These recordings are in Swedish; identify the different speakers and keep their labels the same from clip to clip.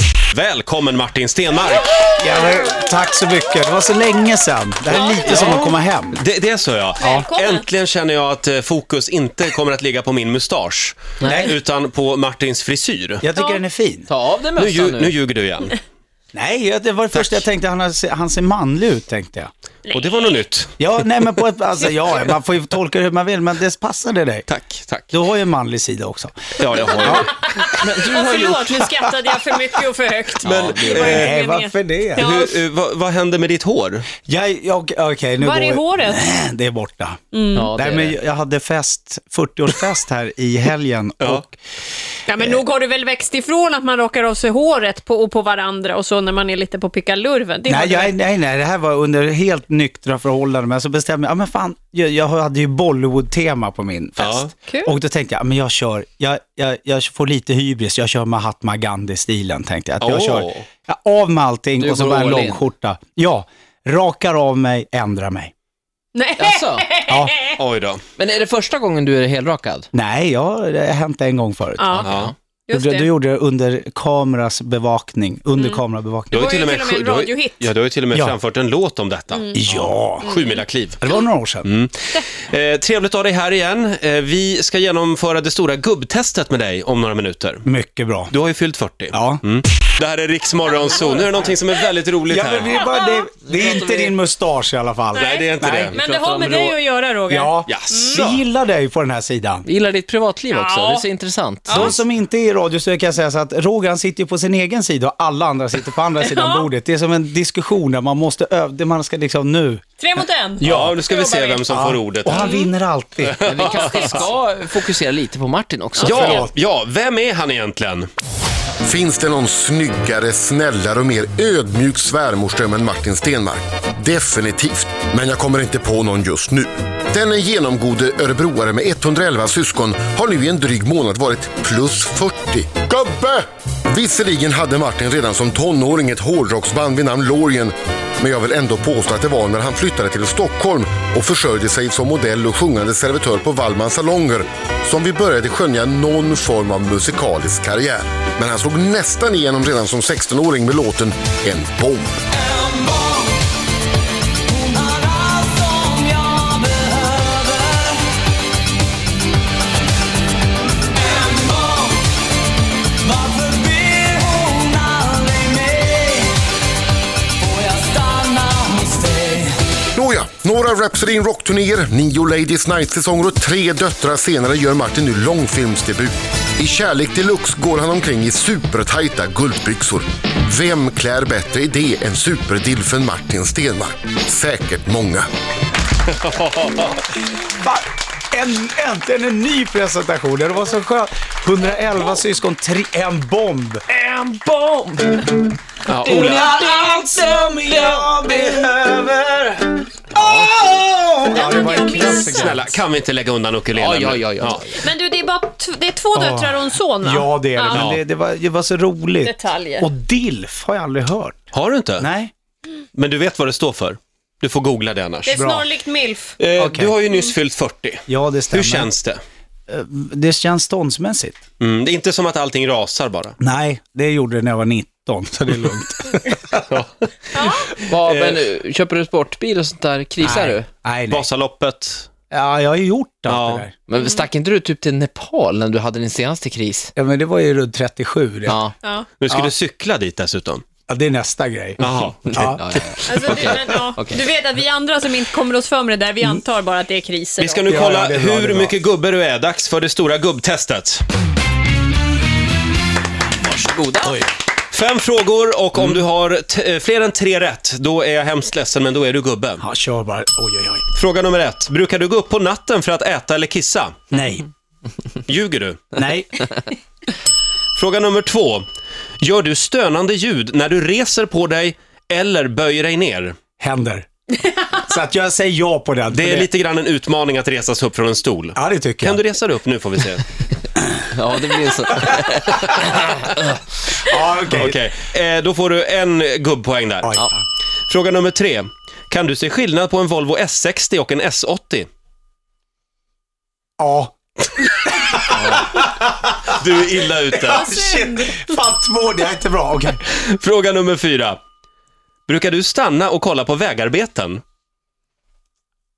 Speaker 1: och välkommen Martin Stenmark!
Speaker 2: Ja, men, tack så mycket. Det var så länge sedan. Det här är lite som att komma hem.
Speaker 1: Det, det är så ja.
Speaker 3: Välkommen.
Speaker 1: Äntligen känner jag att eh, fokus inte kommer att ligga på min mustasch, utan på Martins frisyr.
Speaker 2: Jag tycker
Speaker 3: Ja.
Speaker 2: den är fin.
Speaker 4: Ta av dig
Speaker 1: Nu,
Speaker 4: mössan
Speaker 1: lju-
Speaker 4: nu.
Speaker 1: nu ljuger du igen.
Speaker 2: Nej, jag- det var det första jag tänkte. Han, har se- han ser manlig ut, tänkte jag.
Speaker 1: Och det var något nytt.
Speaker 2: Ja, nej men på ett, alltså, ja, man får ju tolka det hur man vill, men det passade dig.
Speaker 1: Tack, tack.
Speaker 2: Du har ju en manlig sida också.
Speaker 4: Eh,
Speaker 1: Ja, jag har ju.
Speaker 4: Men du har gjort...
Speaker 3: Förlåt, nu skrattade jag för mycket och för högt.
Speaker 1: Men, eh,
Speaker 3: Det var inte
Speaker 2: Nej,
Speaker 3: meningen.
Speaker 2: varför det?
Speaker 3: Ja.
Speaker 1: Hur, eh, vad, vad händer med ditt hår?
Speaker 2: Jag, jag, okej, nu
Speaker 3: Var är
Speaker 2: går-
Speaker 3: håret? Mm.
Speaker 2: Det är borta.
Speaker 4: Ja, det
Speaker 2: Nej,
Speaker 4: är
Speaker 2: men
Speaker 4: det.
Speaker 2: jag jag hade fest, 40-årsfest här i helgen
Speaker 1: Ja.
Speaker 2: och
Speaker 3: Ja, men nog har du väl växt ifrån att man rakar av sig håret på, och på varandra och så när man är lite på pickalurven. Det har
Speaker 2: Nej,
Speaker 3: du
Speaker 2: jag,
Speaker 3: väl-
Speaker 2: nej, nej, det här var under helt nyktra förhållanden. Men så bestämde jag, ja men fan, jag, jag hade ju Bollywood-tema på min fest.
Speaker 3: Kul.
Speaker 2: Och då tänkte jag, ja, men jag kör, jag, jag, jag får lite hybris, jag kör Mahatma Gandhi-stilen tänkte jag. Att jag
Speaker 1: Åh.
Speaker 2: kör jag, av med allting
Speaker 4: Du
Speaker 2: och så
Speaker 4: går
Speaker 2: bara en
Speaker 4: all in.
Speaker 2: långskjorta. Ja, rakar av mig, ändrar mig.
Speaker 3: Nej.
Speaker 4: Alltså,
Speaker 2: Ja.
Speaker 1: Oj då.
Speaker 4: men är det första gången du är helrakad?
Speaker 2: Nej, jag, det har hänt en gång förut.
Speaker 3: Ja,
Speaker 1: Ja.
Speaker 3: just
Speaker 2: du, du
Speaker 3: det. Mm.
Speaker 2: gjorde det under kameras bevakning, under kamerabevakning.
Speaker 1: Du har
Speaker 3: var ju till och med en
Speaker 1: sj- du har ju-
Speaker 3: radiohit. Mm.
Speaker 1: Ja, du har ju till och med
Speaker 2: Ja.
Speaker 1: framfört en låt om detta.
Speaker 2: Ja,
Speaker 1: Sjumilakliv.
Speaker 2: det var några år sedan.
Speaker 4: Mm.
Speaker 1: Eh, trevligt att ha dig här igen. Eh, vi ska genomföra det stora gubbtestet med dig om några minuter.
Speaker 2: Mycket bra.
Speaker 1: Du har ju fyllt 40.
Speaker 2: Ja.
Speaker 1: Det här är Riks Morgonzoo. Nu är det någonting som är väldigt roligt
Speaker 2: Ja, men
Speaker 1: här.
Speaker 2: det, är bara, det, det är inte din mustasch i alla fall.
Speaker 1: Nej, det är inte
Speaker 2: Nej.
Speaker 1: det. Vi
Speaker 3: Men det
Speaker 1: pratar
Speaker 3: har
Speaker 1: om
Speaker 3: med
Speaker 1: rå-
Speaker 3: dig att göra, Roger.
Speaker 2: Ja,
Speaker 1: Jaså.
Speaker 2: vi gillar dig på den här sidan.
Speaker 4: Vi gillar ditt privatliv också,
Speaker 3: Ja.
Speaker 4: det är så intressant.
Speaker 2: De som inte är i radio så kan jag säga så att Roger han sitter ju på sin egen sida och alla andra sitter på andra sidan
Speaker 3: Ja.
Speaker 2: bordet. Det är som en diskussion där man måste öva, det man ska liksom nu.
Speaker 3: Tre mot en.
Speaker 1: Ja, nu ska vi
Speaker 3: Jobbar
Speaker 1: se
Speaker 3: vi.
Speaker 1: vem som får ordet.
Speaker 2: Och
Speaker 1: här.
Speaker 2: han vinner alltid.
Speaker 4: Men vi kanske ska fokusera lite på Martin också.
Speaker 1: Ja,
Speaker 2: Förlåt.
Speaker 1: ja, vem är han egentligen?
Speaker 5: Finns det någon snyggare, snällare och mer ödmjuk svärmorsdröm än Martin Stenmark? Definitivt, men jag kommer inte på någon just nu. Denne genomgode örebroare med 111 syskon har nu i en dryg månad varit plus 40. Gubbe! Visserligen hade Martin redan som tonåring ett hårdrocksband vid namn Lorien, men jag vill ändå påstå att det var när han flyttade till Stockholm och försörjde sig som modell och sjungande servitör på Wallmans salonger som vi började skönja någon form av musikalisk karriär. Men han slog nästan igenom redan som 16-åring med låten En bomb. Nåja, några Rhapsody in Rock-turnéer, nio Ladies Night-säsonger och tre döttrar senare gör Martin nu långfilmsdebut. I Kärlek Deluxe går han omkring i supertajta guldbyxor. Vem klär bättre i det än superdilfen Martin Stenmarck? Säkert många.
Speaker 2: Va? En, äntligen en ny presentation, det var så skönt. 111 syskon, tre, en bomb.
Speaker 4: En bomb! Ja,
Speaker 2: Hon
Speaker 4: Ola.
Speaker 2: har allt som jag behöver. Åh! Ja, det var en klassiker.
Speaker 1: Snälla, kan vi inte lägga undan ukulelen?
Speaker 4: Ja, ja, ja, ja.
Speaker 3: Men du, det är, bara tv- det är två döttrar och en son, va?
Speaker 2: Ja, det är det. Men
Speaker 1: Ja.
Speaker 2: det, det, var, det var så roligt.
Speaker 3: Detaljer.
Speaker 2: Och DILF har jag aldrig hört.
Speaker 1: Har du inte?
Speaker 2: Nej.
Speaker 1: Men du vet vad det står för? Du får googla det annars.
Speaker 3: Det är
Speaker 2: Bra.
Speaker 3: snarlikt milf.
Speaker 1: Eh,
Speaker 2: Okej.
Speaker 1: Du har ju nyss fyllt 40.
Speaker 2: Ja, det
Speaker 1: Hur
Speaker 2: stämmer. Eh,
Speaker 1: känns det?
Speaker 2: Det känns ståndsmässigt.
Speaker 1: Mm, det är inte som att allting rasar bara.
Speaker 2: Nej, det gjorde det när jag var 19, så det är lugnt.
Speaker 4: Vad, men, eh, köper du sportbil och sånt där, krisar du?
Speaker 2: nej, nej.
Speaker 1: Vasaloppet.
Speaker 2: Ja, jag har ju gjort allt
Speaker 1: Ja.
Speaker 2: det där.
Speaker 4: Men stack inte du typ till Nepal när du hade din senaste kris?
Speaker 2: Ja, men det var ju runt 37 det. Ja.
Speaker 4: Ja.
Speaker 3: Ja.
Speaker 1: Nu ska du cykla dit dessutom.
Speaker 2: det är nästa grej.
Speaker 1: Jaha.
Speaker 2: Ja.
Speaker 4: Ja, ja,
Speaker 3: Alltså, du, men, ja.
Speaker 4: Okej.
Speaker 3: du vet att vi andra som inte kommer oss för med det där, vi antar bara att det är kriser.
Speaker 1: Vi ska nu
Speaker 2: Ja,
Speaker 1: kolla
Speaker 2: ja, det är bra, det
Speaker 1: hur
Speaker 2: är bra.
Speaker 1: mycket gubbe du är. Dags för det stora gubbtestet.
Speaker 4: Varsågoda.
Speaker 1: Fem frågor och
Speaker 2: Mm.
Speaker 1: om du har t- eh, fler än tre rätt, då är jag hemskt ledsen, men då är du gubbe.
Speaker 2: Ja, kör bara. Oj, oj, oj.
Speaker 1: Fråga nummer ett. Brukar du gå upp på natten för att äta eller kissa?
Speaker 2: Nej,
Speaker 1: Ljuger du?
Speaker 2: nej,
Speaker 1: Fråga nummer två. Gör du stönande ljud när du reser på dig eller böjer dig ner?
Speaker 2: händer. Så att jag säger ja på den.
Speaker 1: Det
Speaker 2: för
Speaker 1: är lite grann en utmaning att resa sig upp från en stol.
Speaker 2: Ja, det tycker
Speaker 1: Kan
Speaker 2: jag.
Speaker 1: du resa dig upp nu får vi se.
Speaker 4: ja, det blir så.
Speaker 2: Ja, okej.
Speaker 1: Okej, eh, då får du en gubbpoäng där.
Speaker 2: Oj, fan.
Speaker 1: Fråga nummer tre. Kan du se skillnad på en Volvo S60 och en S80?
Speaker 2: Ja,
Speaker 1: Du är illa ute.
Speaker 2: Shit, fan två, det är inte bra. Okej.
Speaker 1: Fråga nummer fyra. Brukar du stanna och kolla på vägarbeten?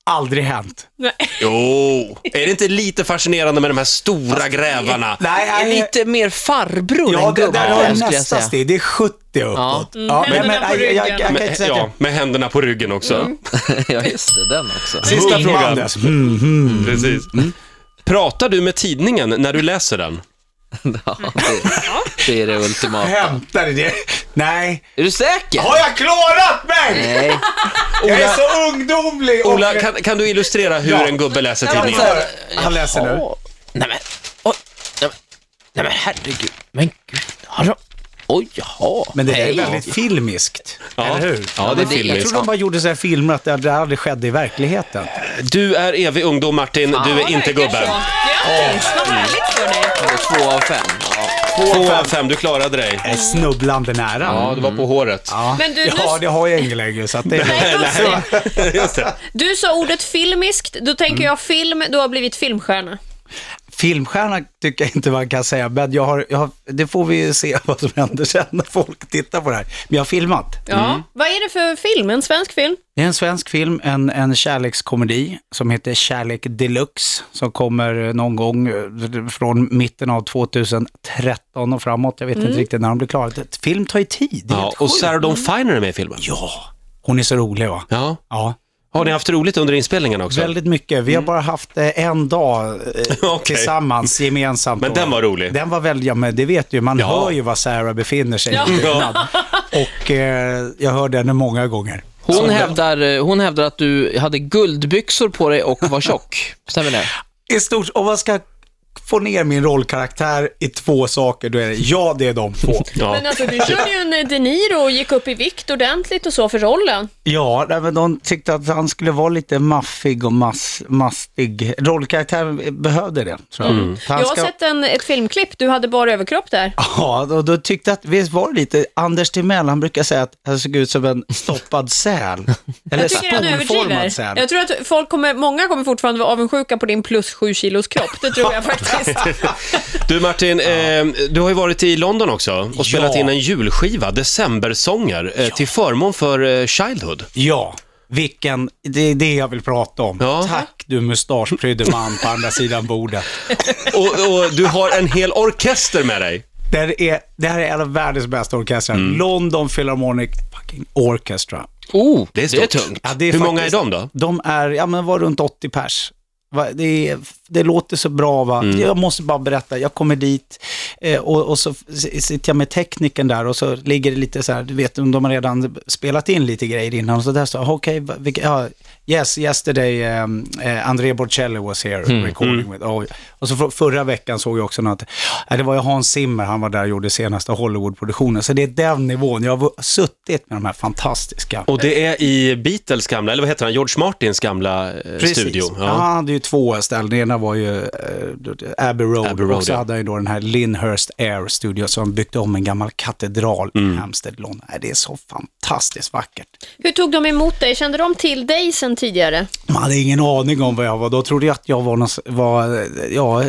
Speaker 2: Aldrig hänt.
Speaker 3: Nej.
Speaker 1: Jo. Är det inte lite fascinerande med de här stora grävarna?
Speaker 2: Nej,
Speaker 4: Är lite mer farbror
Speaker 2: Ja,
Speaker 4: än
Speaker 2: det där har
Speaker 4: gubbe,
Speaker 2: jag
Speaker 4: skulle jag
Speaker 2: nästa
Speaker 4: säga.
Speaker 2: steg. Det är 70 uppåt.
Speaker 3: Mm, händerna på
Speaker 2: jag, jag, jag,
Speaker 3: ryggen.
Speaker 2: kan
Speaker 1: Med,
Speaker 2: inte säga att
Speaker 1: ja,
Speaker 2: jag-
Speaker 1: med händerna på ryggen också.
Speaker 4: ja, just det. Den också.
Speaker 1: Sista
Speaker 2: Mm,
Speaker 1: frågan.
Speaker 2: Anders. Mm, mm.
Speaker 1: Precis. Pratar du med tidningen när du läser den?
Speaker 4: Ja, det, det är det ultimata.
Speaker 2: Hämtar du det? Nej.
Speaker 4: Är du säker?
Speaker 2: Har jag klarat mig?
Speaker 4: Nej.
Speaker 2: Jag är så ungdomlig. och-
Speaker 1: Ola, kan, kan du illustrera hur en gubbe läser
Speaker 2: Han
Speaker 1: tidningen?
Speaker 2: läser- Han läser nu.
Speaker 4: Ja. Nej men, oj, nej men, nej men herregud, men gud, har de, oj, jaha.
Speaker 2: Men det där är
Speaker 4: Nej.
Speaker 2: väldigt filmiskt.
Speaker 1: Ja,
Speaker 2: Eller hur?
Speaker 1: ja det är
Speaker 4: men det- jag
Speaker 2: Jag
Speaker 1: filmiskt.
Speaker 2: tror de bara gjorde så här filmer att det det aldrig skedde i verkligheten.
Speaker 1: Du är evig ungdom, Martin. Du är inte gubbe.
Speaker 3: Grattis, vad härligt för dig.
Speaker 4: Två av fem. Ja.
Speaker 1: Två av fem, du klarade dig.
Speaker 2: Jag är snubblande nära.
Speaker 1: Ja, det var på håret.
Speaker 2: Ja.
Speaker 3: Men du,
Speaker 2: ja,
Speaker 3: nu-
Speaker 2: det har jag ingen längre. Så att det är...
Speaker 3: Nej, Rosie,
Speaker 1: Just det.
Speaker 3: Du sa ordet filmiskt, då
Speaker 2: Mm.
Speaker 3: tänker jag film, du har blivit filmstjärna.
Speaker 2: Filmstjärna tycker jag inte man kan säga, men jag har, jag har, det får vi se vad som händer sen när folk tittar på det här. Men jag har filmat.
Speaker 3: Ja. Vad är det för film? En svensk film?
Speaker 2: Det är en svensk film, en, en kärlekskomedi som heter Kärlek Deluxe som kommer någon gång eh, från mitten av 2013 och framåt. Jag vet inte riktigt när de blir klara. Ett Film tar ju tid. Det är
Speaker 1: Ja,
Speaker 2: helt
Speaker 1: och
Speaker 2: sjukt.
Speaker 1: Sarah Dawn Finer är med i filmen.
Speaker 2: ja, hon är så rolig va?
Speaker 1: Ja.
Speaker 2: Ja,
Speaker 1: Har ni haft roligt under inspelningen också?
Speaker 2: väldigt mycket. Vi har bara haft eh, en dag eh,
Speaker 1: Mm. Okej.
Speaker 2: tillsammans, gemensamt.
Speaker 1: Men
Speaker 2: då.
Speaker 1: den var rolig.
Speaker 2: Den var väldigt, ja men det vet ju, man
Speaker 1: Ja.
Speaker 2: hör ju var Sarah befinner sig.
Speaker 1: Ja.
Speaker 2: Och eh, jag hörde henne många gånger.
Speaker 4: Hon, hävdar, eh, hon hävdar att du hade guldbyxor på dig och var tjock. Stämmer det?
Speaker 2: I stort, om man ska få ner min rollkaraktär i två saker, då är det ja, det är de två.
Speaker 1: Ja.
Speaker 3: Men alltså du körde ju en eh, De Niro och gick upp i vikt ordentligt och så för rollen.
Speaker 2: ja, nej, men de tyckte att han skulle vara lite maffig och mass, mastig. Rollkaraktären behövde det, tror jag. Han
Speaker 3: Mm. Jag har
Speaker 2: ska-
Speaker 3: sett en, ett filmklipp, du hade bara överkropp där.
Speaker 2: Ja, och då tyckte jag att, visst var det lite, Anders Timell, han brukar säga att han såg ut som en stoppad säl. Eller
Speaker 3: Jag tycker han
Speaker 2: sponformad
Speaker 3: överdriver.
Speaker 2: säl.
Speaker 3: Jag tror att folk kommer, många kommer fortfarande vara avundsjuka på din plus 7 kilos kropp, det tror jag faktiskt.
Speaker 1: Du Martin, eh, du har ju varit i London också och spelat
Speaker 2: Ja.
Speaker 1: in en julskiva, Decembersånger, eh, till förmån för eh, Childhood.
Speaker 2: Ja, vilken, det är det jag vill prata om.
Speaker 1: Ja.
Speaker 2: Tack du mustaschprydde man på andra sidan bordet.
Speaker 1: Och, och du har en hel orkester med dig.
Speaker 2: Det här är, det här är en av världens bästa orkestrar. London Philharmonic fucking Orchestra.
Speaker 4: Oh,
Speaker 1: Det är stort.
Speaker 4: tungt.
Speaker 2: Ja, det är
Speaker 1: Hur
Speaker 2: faktiskt-
Speaker 1: många är de då?
Speaker 2: De är, ja men var runt 80 pers. Va, Det, är, det låter så bra va.
Speaker 1: Mm.
Speaker 2: Jag måste bara berätta, jag kommer dit eh, och, och så s- sitter jag med tekniken där och så ligger det lite så här, du vet om de har redan spelat in lite grejer innan och så där så, "Ah, okej, va- vilka- ja, yes, yesterday um, eh, André Bocelli was here
Speaker 1: Mm.
Speaker 2: recording with, oh. och så för, förra veckan såg jag också något, ja, det var ju Hans Zimmer, han var där och gjorde senaste Hollywood-produktionen, så det är den nivån, jag har v- suttit med de här fantastiska
Speaker 1: Och det är i Beatles gamla, eller vad heter han, George Martins gamla eh, studio.
Speaker 2: Ja. Han hade ju två ställen. Den ena var ju eh, Abbey Road,
Speaker 1: Abbey Road,
Speaker 2: och så
Speaker 1: ja.
Speaker 2: hade han ju då den här Lyndhurst Air Studio som byggt om en gammal katedral i
Speaker 1: Mm.
Speaker 2: Hampstead, London. Nej, Det är så fantastiskt vackert.
Speaker 3: Hur tog de emot dig? Kände de till dig sen tidigare?
Speaker 2: Man hade ingen aning om vad jag var. Då trodde jag att jag var någon, var, ja,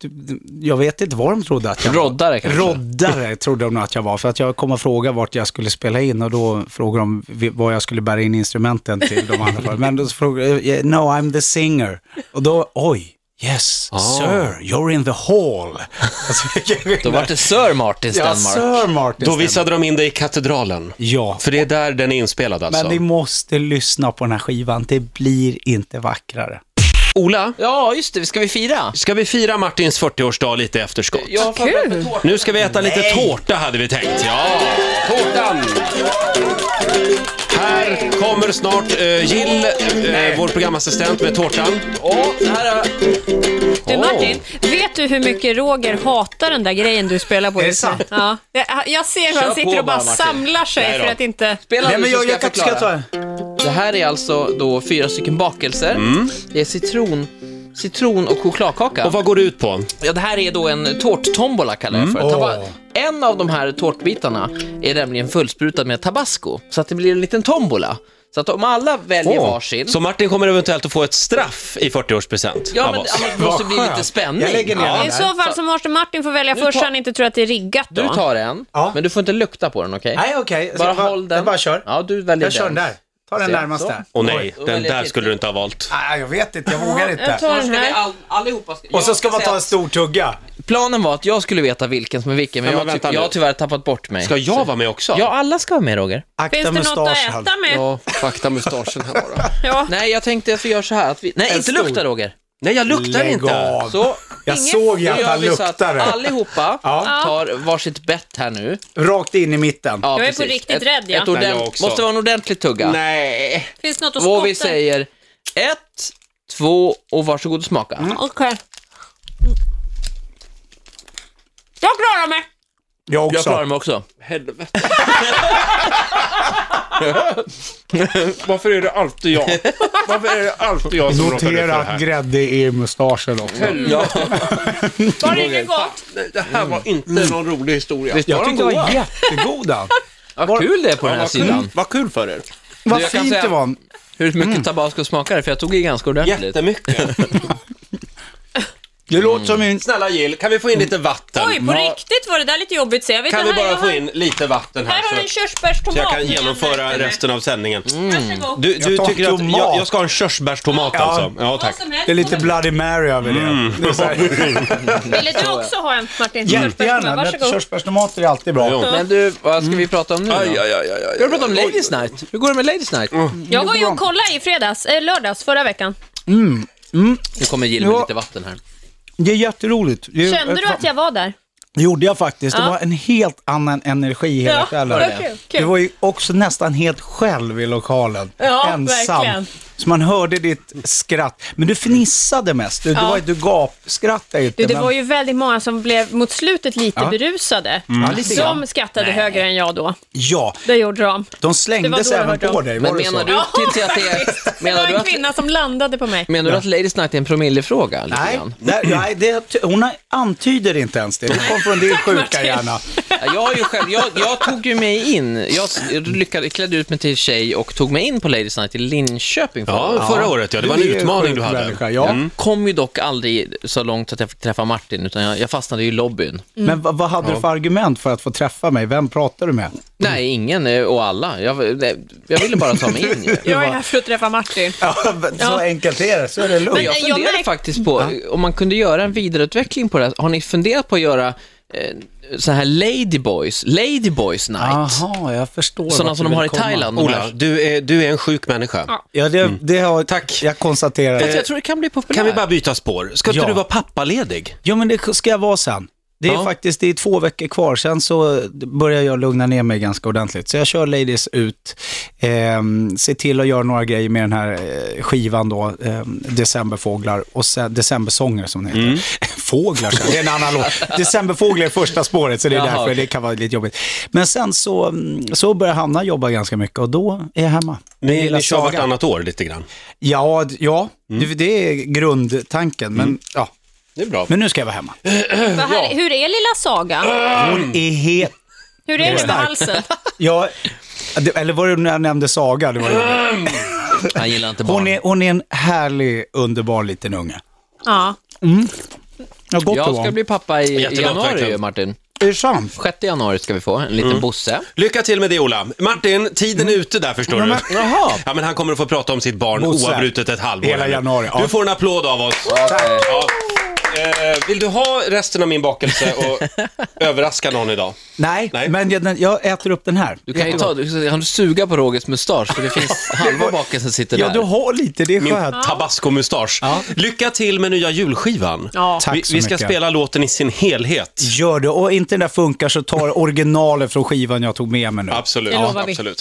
Speaker 2: du- jag vet inte vad de trodde att jag var.
Speaker 4: Roddare kanske?
Speaker 2: Roddare trodde de nog att jag var, för att jag kom och frågade vart jag skulle spela in och då frågade de vi- vad jag skulle bära in instrumenten till de andra. för. Men då frågade jag, "Yeah, no I'm the singer. Och då, oj, yes,
Speaker 4: Ah.
Speaker 2: sir, you're in the hall. Alltså,
Speaker 4: Då var det Sir Martin
Speaker 2: ja,
Speaker 4: Stenmark.
Speaker 2: sir Martin
Speaker 1: Då
Speaker 2: Stenmark.
Speaker 1: visade de in dig i katedralen.
Speaker 2: Ja,
Speaker 1: För det är där den är inspelad alltså.
Speaker 2: men ni måste lyssna på den här skivan, det blir inte vackrare.
Speaker 1: Ola,
Speaker 4: Ja, just det, ska vi fira?
Speaker 1: ska vi fira Martins 40-årsdag lite i efterskott?
Speaker 4: Jag har förberett en tårta.
Speaker 1: Nu ska vi äta lite tårta hade vi tänkt. Ja, tårtan! Här kommer snart eh, Jill, eh, vår programassistent, med tårtan.
Speaker 4: Åh, det här är...
Speaker 3: Du Martin, vet du hur mycket Roger hatar den där grejen du spelar på
Speaker 2: Är det
Speaker 3: just nu?
Speaker 2: sant?
Speaker 3: Ja. Jag, jag ser hur
Speaker 4: Kör
Speaker 3: han sitter
Speaker 4: på
Speaker 3: och bara
Speaker 4: bara, Martin.
Speaker 3: samlar sig
Speaker 1: Nej då.
Speaker 3: för att inte...
Speaker 4: Spela nu så ska jag förklara.
Speaker 2: ta
Speaker 4: Det här är alltså då fyra stycken bakelser. Det är citron, citron och chokladkaka.
Speaker 1: Och vad går det ut på?
Speaker 4: Ja, det här är då en tårttombola kallar jag det för. Taba-
Speaker 2: Mm. Åh.
Speaker 4: En av de här tårtbitarna är nämligen fullsprutad med tabasco, så att det blir en liten tombola. Så Så att om alla väljer
Speaker 1: Åh,
Speaker 4: varsin...
Speaker 1: Så Martin kommer eventuellt att få ett straff i 40-årspresent
Speaker 4: Ja,
Speaker 1: av
Speaker 4: men alltså-
Speaker 1: oss.
Speaker 4: ja, men det måste
Speaker 2: Vad
Speaker 4: bli
Speaker 2: skönt.
Speaker 4: lite spänning.
Speaker 2: Jag lägger ner
Speaker 4: Ja.
Speaker 2: den
Speaker 3: I
Speaker 2: där.
Speaker 3: så fall så måste Martin få välja först så
Speaker 4: tar-
Speaker 3: han inte tror att det är riggat då.
Speaker 4: Du tar en,
Speaker 2: Ja.
Speaker 4: men du får inte lukta på den, okej?
Speaker 2: Nej, okej.
Speaker 4: Bara
Speaker 2: Jag bara-
Speaker 4: håll den.
Speaker 2: Jag bara kör.
Speaker 4: Ja, du väljer
Speaker 2: Jag kör den där. Ta den
Speaker 4: Se, så.
Speaker 2: närmaste.
Speaker 1: Och nej,
Speaker 4: Oj.
Speaker 1: den där skulle du inte ha valt.
Speaker 2: Nej, jag vet inte. Jag vågar
Speaker 3: jag
Speaker 2: inte.
Speaker 3: tar
Speaker 4: Annars
Speaker 3: den
Speaker 4: ska vi
Speaker 3: här.
Speaker 4: all, allihopa... ska-
Speaker 2: Och så
Speaker 4: jag
Speaker 2: ska man
Speaker 4: säga
Speaker 2: ta en
Speaker 4: att
Speaker 2: stor tugga.
Speaker 4: Planen var att jag skulle veta vilken som är vilken, men,
Speaker 1: Ja, men
Speaker 4: jag,
Speaker 1: vänta
Speaker 4: ty- jag
Speaker 1: nu.
Speaker 4: har tyvärr tappat bort mig.
Speaker 1: Ska jag vara med också?
Speaker 4: Ja, alla ska vara med, Roger.
Speaker 2: Akta
Speaker 3: Finns det något att
Speaker 2: mustaschen.
Speaker 3: äta med? Ja.
Speaker 4: Ja.
Speaker 6: Fakta mustaschen här bara.
Speaker 4: Nej, jag tänkte att vi gör så här att vi... Nej, inte
Speaker 2: stor.
Speaker 4: lukta, Roger.
Speaker 1: Nej, jag luktar
Speaker 2: Lägg
Speaker 1: inte.
Speaker 2: av.
Speaker 4: Så,
Speaker 2: Jag
Speaker 3: Inget.
Speaker 2: såg ju
Speaker 4: nu
Speaker 2: att
Speaker 4: gör
Speaker 2: han
Speaker 4: vi så att
Speaker 2: luktade.
Speaker 4: allihopa
Speaker 2: Ja.
Speaker 4: tar varsitt bett här nu.
Speaker 2: Rakt in i mitten.
Speaker 4: Ja,
Speaker 3: Jag är på
Speaker 4: precis.
Speaker 3: riktigt rädd, ja.
Speaker 4: Ett ordent-
Speaker 1: Nej, jag också.
Speaker 4: Måste vara en ordentlig tugga.
Speaker 1: Nej.
Speaker 3: Finns det något att
Speaker 4: Och
Speaker 3: skotta?
Speaker 4: vi säger ett, två och varsågod och smaka.
Speaker 2: Mm.
Speaker 3: Okej. Jag klarar mig!
Speaker 2: Jag
Speaker 4: Jag klarar
Speaker 2: också.
Speaker 4: mig också.
Speaker 1: Helvete. Varför är det alltid jag? Varför är det alltid jag som råkar ut för det
Speaker 2: Notera att
Speaker 1: här?
Speaker 2: grädde är i mustaschen också.
Speaker 3: Var det inget gott?
Speaker 1: Nej, Det här var inte någon rolig historia.
Speaker 4: Mm. Visst
Speaker 2: Jag
Speaker 4: var de
Speaker 2: tyckte det
Speaker 4: goda?
Speaker 2: var jättegoda.
Speaker 4: Vad kul det är på den här
Speaker 1: Vad kul,
Speaker 4: sidan.
Speaker 1: vad kul för er.
Speaker 2: Vad
Speaker 4: jag kan
Speaker 2: fint
Speaker 4: säga-
Speaker 2: det var.
Speaker 4: Hur mycket
Speaker 2: Mm.
Speaker 4: tabasco smakar det? För jag tog i ganska ordentligt.
Speaker 1: Jättemycket.
Speaker 2: Det låter som en...
Speaker 1: Snälla Jill, kan vi få in lite vatten?
Speaker 3: Oj, på riktigt var det där lite jobbigt ser jag. Vet
Speaker 1: Kan vi
Speaker 3: du, här,
Speaker 1: bara
Speaker 3: jag
Speaker 1: få
Speaker 3: har-
Speaker 1: in lite vatten
Speaker 3: Här har du
Speaker 1: här?
Speaker 3: en
Speaker 1: Så
Speaker 3: körsbärstomat.
Speaker 1: så jag kan genomföra resten av sändningen.
Speaker 3: Mm. Varsågod.
Speaker 1: Du, du
Speaker 2: tar
Speaker 1: tycker att
Speaker 2: tomat.
Speaker 1: jag, jag ska ha en körsbärstomat
Speaker 2: Ja.
Speaker 1: alltså? Ja,
Speaker 3: Vad
Speaker 1: tack.
Speaker 3: som helst.
Speaker 2: Det är lite Bloody Mary över det. det är så här,
Speaker 3: Ville du också ha en Martin?
Speaker 2: jättegärna.
Speaker 3: Körsbärsstomat,
Speaker 2: men
Speaker 3: Varsågod.
Speaker 2: Körsbärstomater är alltid bra.
Speaker 1: Ja.
Speaker 4: Men du, vad ska vi
Speaker 2: Mm.
Speaker 4: prata om nu då?
Speaker 1: Aj, aj, aj, aj, aj.
Speaker 4: Vi har pratat om Ladies Night. Hur går det med Ladies Night?
Speaker 2: Mm.
Speaker 3: Jag var ju och kollade i fredags, eh, lördags, förra veckan.
Speaker 4: Nu kommer Jill med
Speaker 2: Ja.
Speaker 4: lite vatten här.
Speaker 2: Det är jätteroligt. Det är-
Speaker 3: Kände du att jag var där?
Speaker 2: Det gjorde jag faktiskt. Det
Speaker 3: Ja.
Speaker 2: var en helt annan energi hela
Speaker 3: Ja,
Speaker 2: kvällen.
Speaker 3: vad kul, kul.
Speaker 2: Du var ju också nästan helt själv i lokalen.
Speaker 3: Ja,
Speaker 2: Ensam.
Speaker 3: verkligen.
Speaker 2: Så man hörde ditt skratt. Men du fnissade mest. Du, du,
Speaker 3: Ja.
Speaker 2: var, du gapskrattade inte.
Speaker 3: Du, det
Speaker 2: men-
Speaker 3: var ju väldigt många som blev mot slutet lite
Speaker 2: Ja. Mm.
Speaker 3: berusade.
Speaker 2: Ja, lite grann.
Speaker 3: Som skrattade högre än jag då.
Speaker 2: Ja,
Speaker 3: Det gjorde de.
Speaker 2: de
Speaker 3: Det var
Speaker 2: slängdes
Speaker 3: då jag
Speaker 2: även
Speaker 3: hörde
Speaker 2: på
Speaker 3: om.
Speaker 2: dig. Var
Speaker 4: Men
Speaker 2: det
Speaker 4: menar
Speaker 2: så?
Speaker 4: du, till, till att det är,
Speaker 3: Det
Speaker 4: menar,
Speaker 3: var
Speaker 4: du
Speaker 3: en
Speaker 4: att,
Speaker 3: kvinna som landade på mig.
Speaker 4: menar du att Ladies Night är en promillefråga? lite
Speaker 2: Nej,
Speaker 4: grann?
Speaker 2: där, nej det, hon antyder inte ens det. Det kom från din sjuka
Speaker 3: Martin.
Speaker 2: hjärna.
Speaker 4: Ja, Jag, har ju själv, jag, jag tog ju mig in. Jag s- lyckades, klädde ut mig till tjej och tog mig in på Ladies Night i Linköping förra året. Mm.
Speaker 1: Ja, förra året ja. Det var en
Speaker 2: är en
Speaker 1: utmaning
Speaker 2: sjuk
Speaker 1: du hade. Mm.
Speaker 2: människa, Ja.
Speaker 4: Kom ju dock aldrig så långt att jag fick träffa Martin, utan jag, jag fastnade ju i lobbyn.
Speaker 2: Men vad, vad hade du för argument för att få träffa mig? Vem pratar du med?
Speaker 4: Nej, ingen eh, och alla. Jag, nej, jag ville bara ta mig in. ju.
Speaker 3: Jag är här för att träffa Martin.
Speaker 2: Ja, men så
Speaker 3: Ja.
Speaker 2: enkelt är det, så är det lugnt.
Speaker 4: Men jag
Speaker 3: jag
Speaker 4: funderar
Speaker 3: märk-
Speaker 4: faktiskt på eh, om man kunde göra en vidareutveckling på det här. Har ni funderat på att göra eh, så här Ladyboys, Ladyboys night? Alltså,
Speaker 2: Jaha, jag förstår.
Speaker 4: Sådana
Speaker 2: vart
Speaker 4: som
Speaker 2: du
Speaker 4: de har
Speaker 2: vill
Speaker 4: i
Speaker 2: komma. Mm.
Speaker 4: Thailand. de
Speaker 1: Ola,
Speaker 4: här.
Speaker 1: du är, du är en sjuk människa.
Speaker 3: Ja.
Speaker 2: Ja, det, det har
Speaker 1: Tack.
Speaker 2: jag konstaterat.
Speaker 4: Fast jag tror det kan bli populärt.
Speaker 1: Kan vi bara byta spår? Ska inte
Speaker 2: Ja.
Speaker 1: du vara pappaledig?
Speaker 2: Jo, men det ska jag vara sen. Det är
Speaker 1: Ja.
Speaker 2: faktiskt det är två veckor kvar, sen så börjar jag lugna ner mig ganska ordentligt. Så jag kör Ladies ut, ehm, ser till att göra några grejer med den här eh, skivan då, ehm, Decemberfåglar och sen, Decembersånger som den heter.
Speaker 4: Mm.
Speaker 2: Fåglar, så- det är en annan låt. Decemberfåglar är första spåret, så det är
Speaker 4: Jaha,
Speaker 2: därför
Speaker 4: okej.
Speaker 2: det kan vara lite jobbigt. Men sen så, mm, så börjar Hanna jobba ganska mycket och då är jag hemma.
Speaker 1: Ni,
Speaker 2: Lilla
Speaker 1: ni kör
Speaker 2: Saga.
Speaker 1: vartannat år lite grann.
Speaker 2: Ja, d- ja det, det är grundtanken, men ja.
Speaker 1: Det är bra.
Speaker 2: Mm. Men nu ska jag vara hemma. Mm.
Speaker 3: Vad här, hur är lilla Saga?
Speaker 2: Hon är helt...
Speaker 3: Hur är det med
Speaker 2: Stark.
Speaker 3: halsen?
Speaker 2: Ja, det, eller var det när jag nämnde Saga? Det var ju-
Speaker 4: Han gillar inte barn.
Speaker 2: hon, är, hon är en härlig, underbar liten unge.
Speaker 3: Ja.
Speaker 2: Jag har gått
Speaker 4: Jag
Speaker 2: och
Speaker 4: ska
Speaker 2: varmt.
Speaker 4: bli pappa i
Speaker 1: Jättegott,
Speaker 4: januari,
Speaker 1: verkligen.
Speaker 4: Martin.
Speaker 2: Är det sant?
Speaker 4: 6 januari ska vi få en liten Bosse.
Speaker 1: Lycka till med det Ola. Martin, tiden är ute där förstår du.
Speaker 4: Jaha.
Speaker 1: Ja, men han kommer att få prata om sitt barn
Speaker 2: Bosse.
Speaker 1: oavbrutet ett halvår.
Speaker 2: Hela januari, ja.
Speaker 1: Du får en applåd av oss. Ja. Eh, vill du ha resten av min bakelse och överraska någon idag?
Speaker 2: Nej,
Speaker 1: Nej.
Speaker 2: men jag, den- jag äter upp den här.
Speaker 4: Du kan ju ta, du kan suga på Rogers mustasch, för det finns halva bakelsen sitter
Speaker 2: Ja, du
Speaker 4: där.
Speaker 2: har lite, det är
Speaker 1: Min
Speaker 2: skönt.
Speaker 1: tabascomustasch. Lycka till med nya julskivan.
Speaker 3: Ja.
Speaker 2: Tack
Speaker 1: vi,
Speaker 2: så
Speaker 1: vi ska
Speaker 2: mycket.
Speaker 1: spela låten i sin helhet.
Speaker 2: Gör det, och inte den där funkar så tar originalet från skivan jag tog med mig nu.
Speaker 1: Absolut.
Speaker 3: Det lovar vi.
Speaker 1: absolut.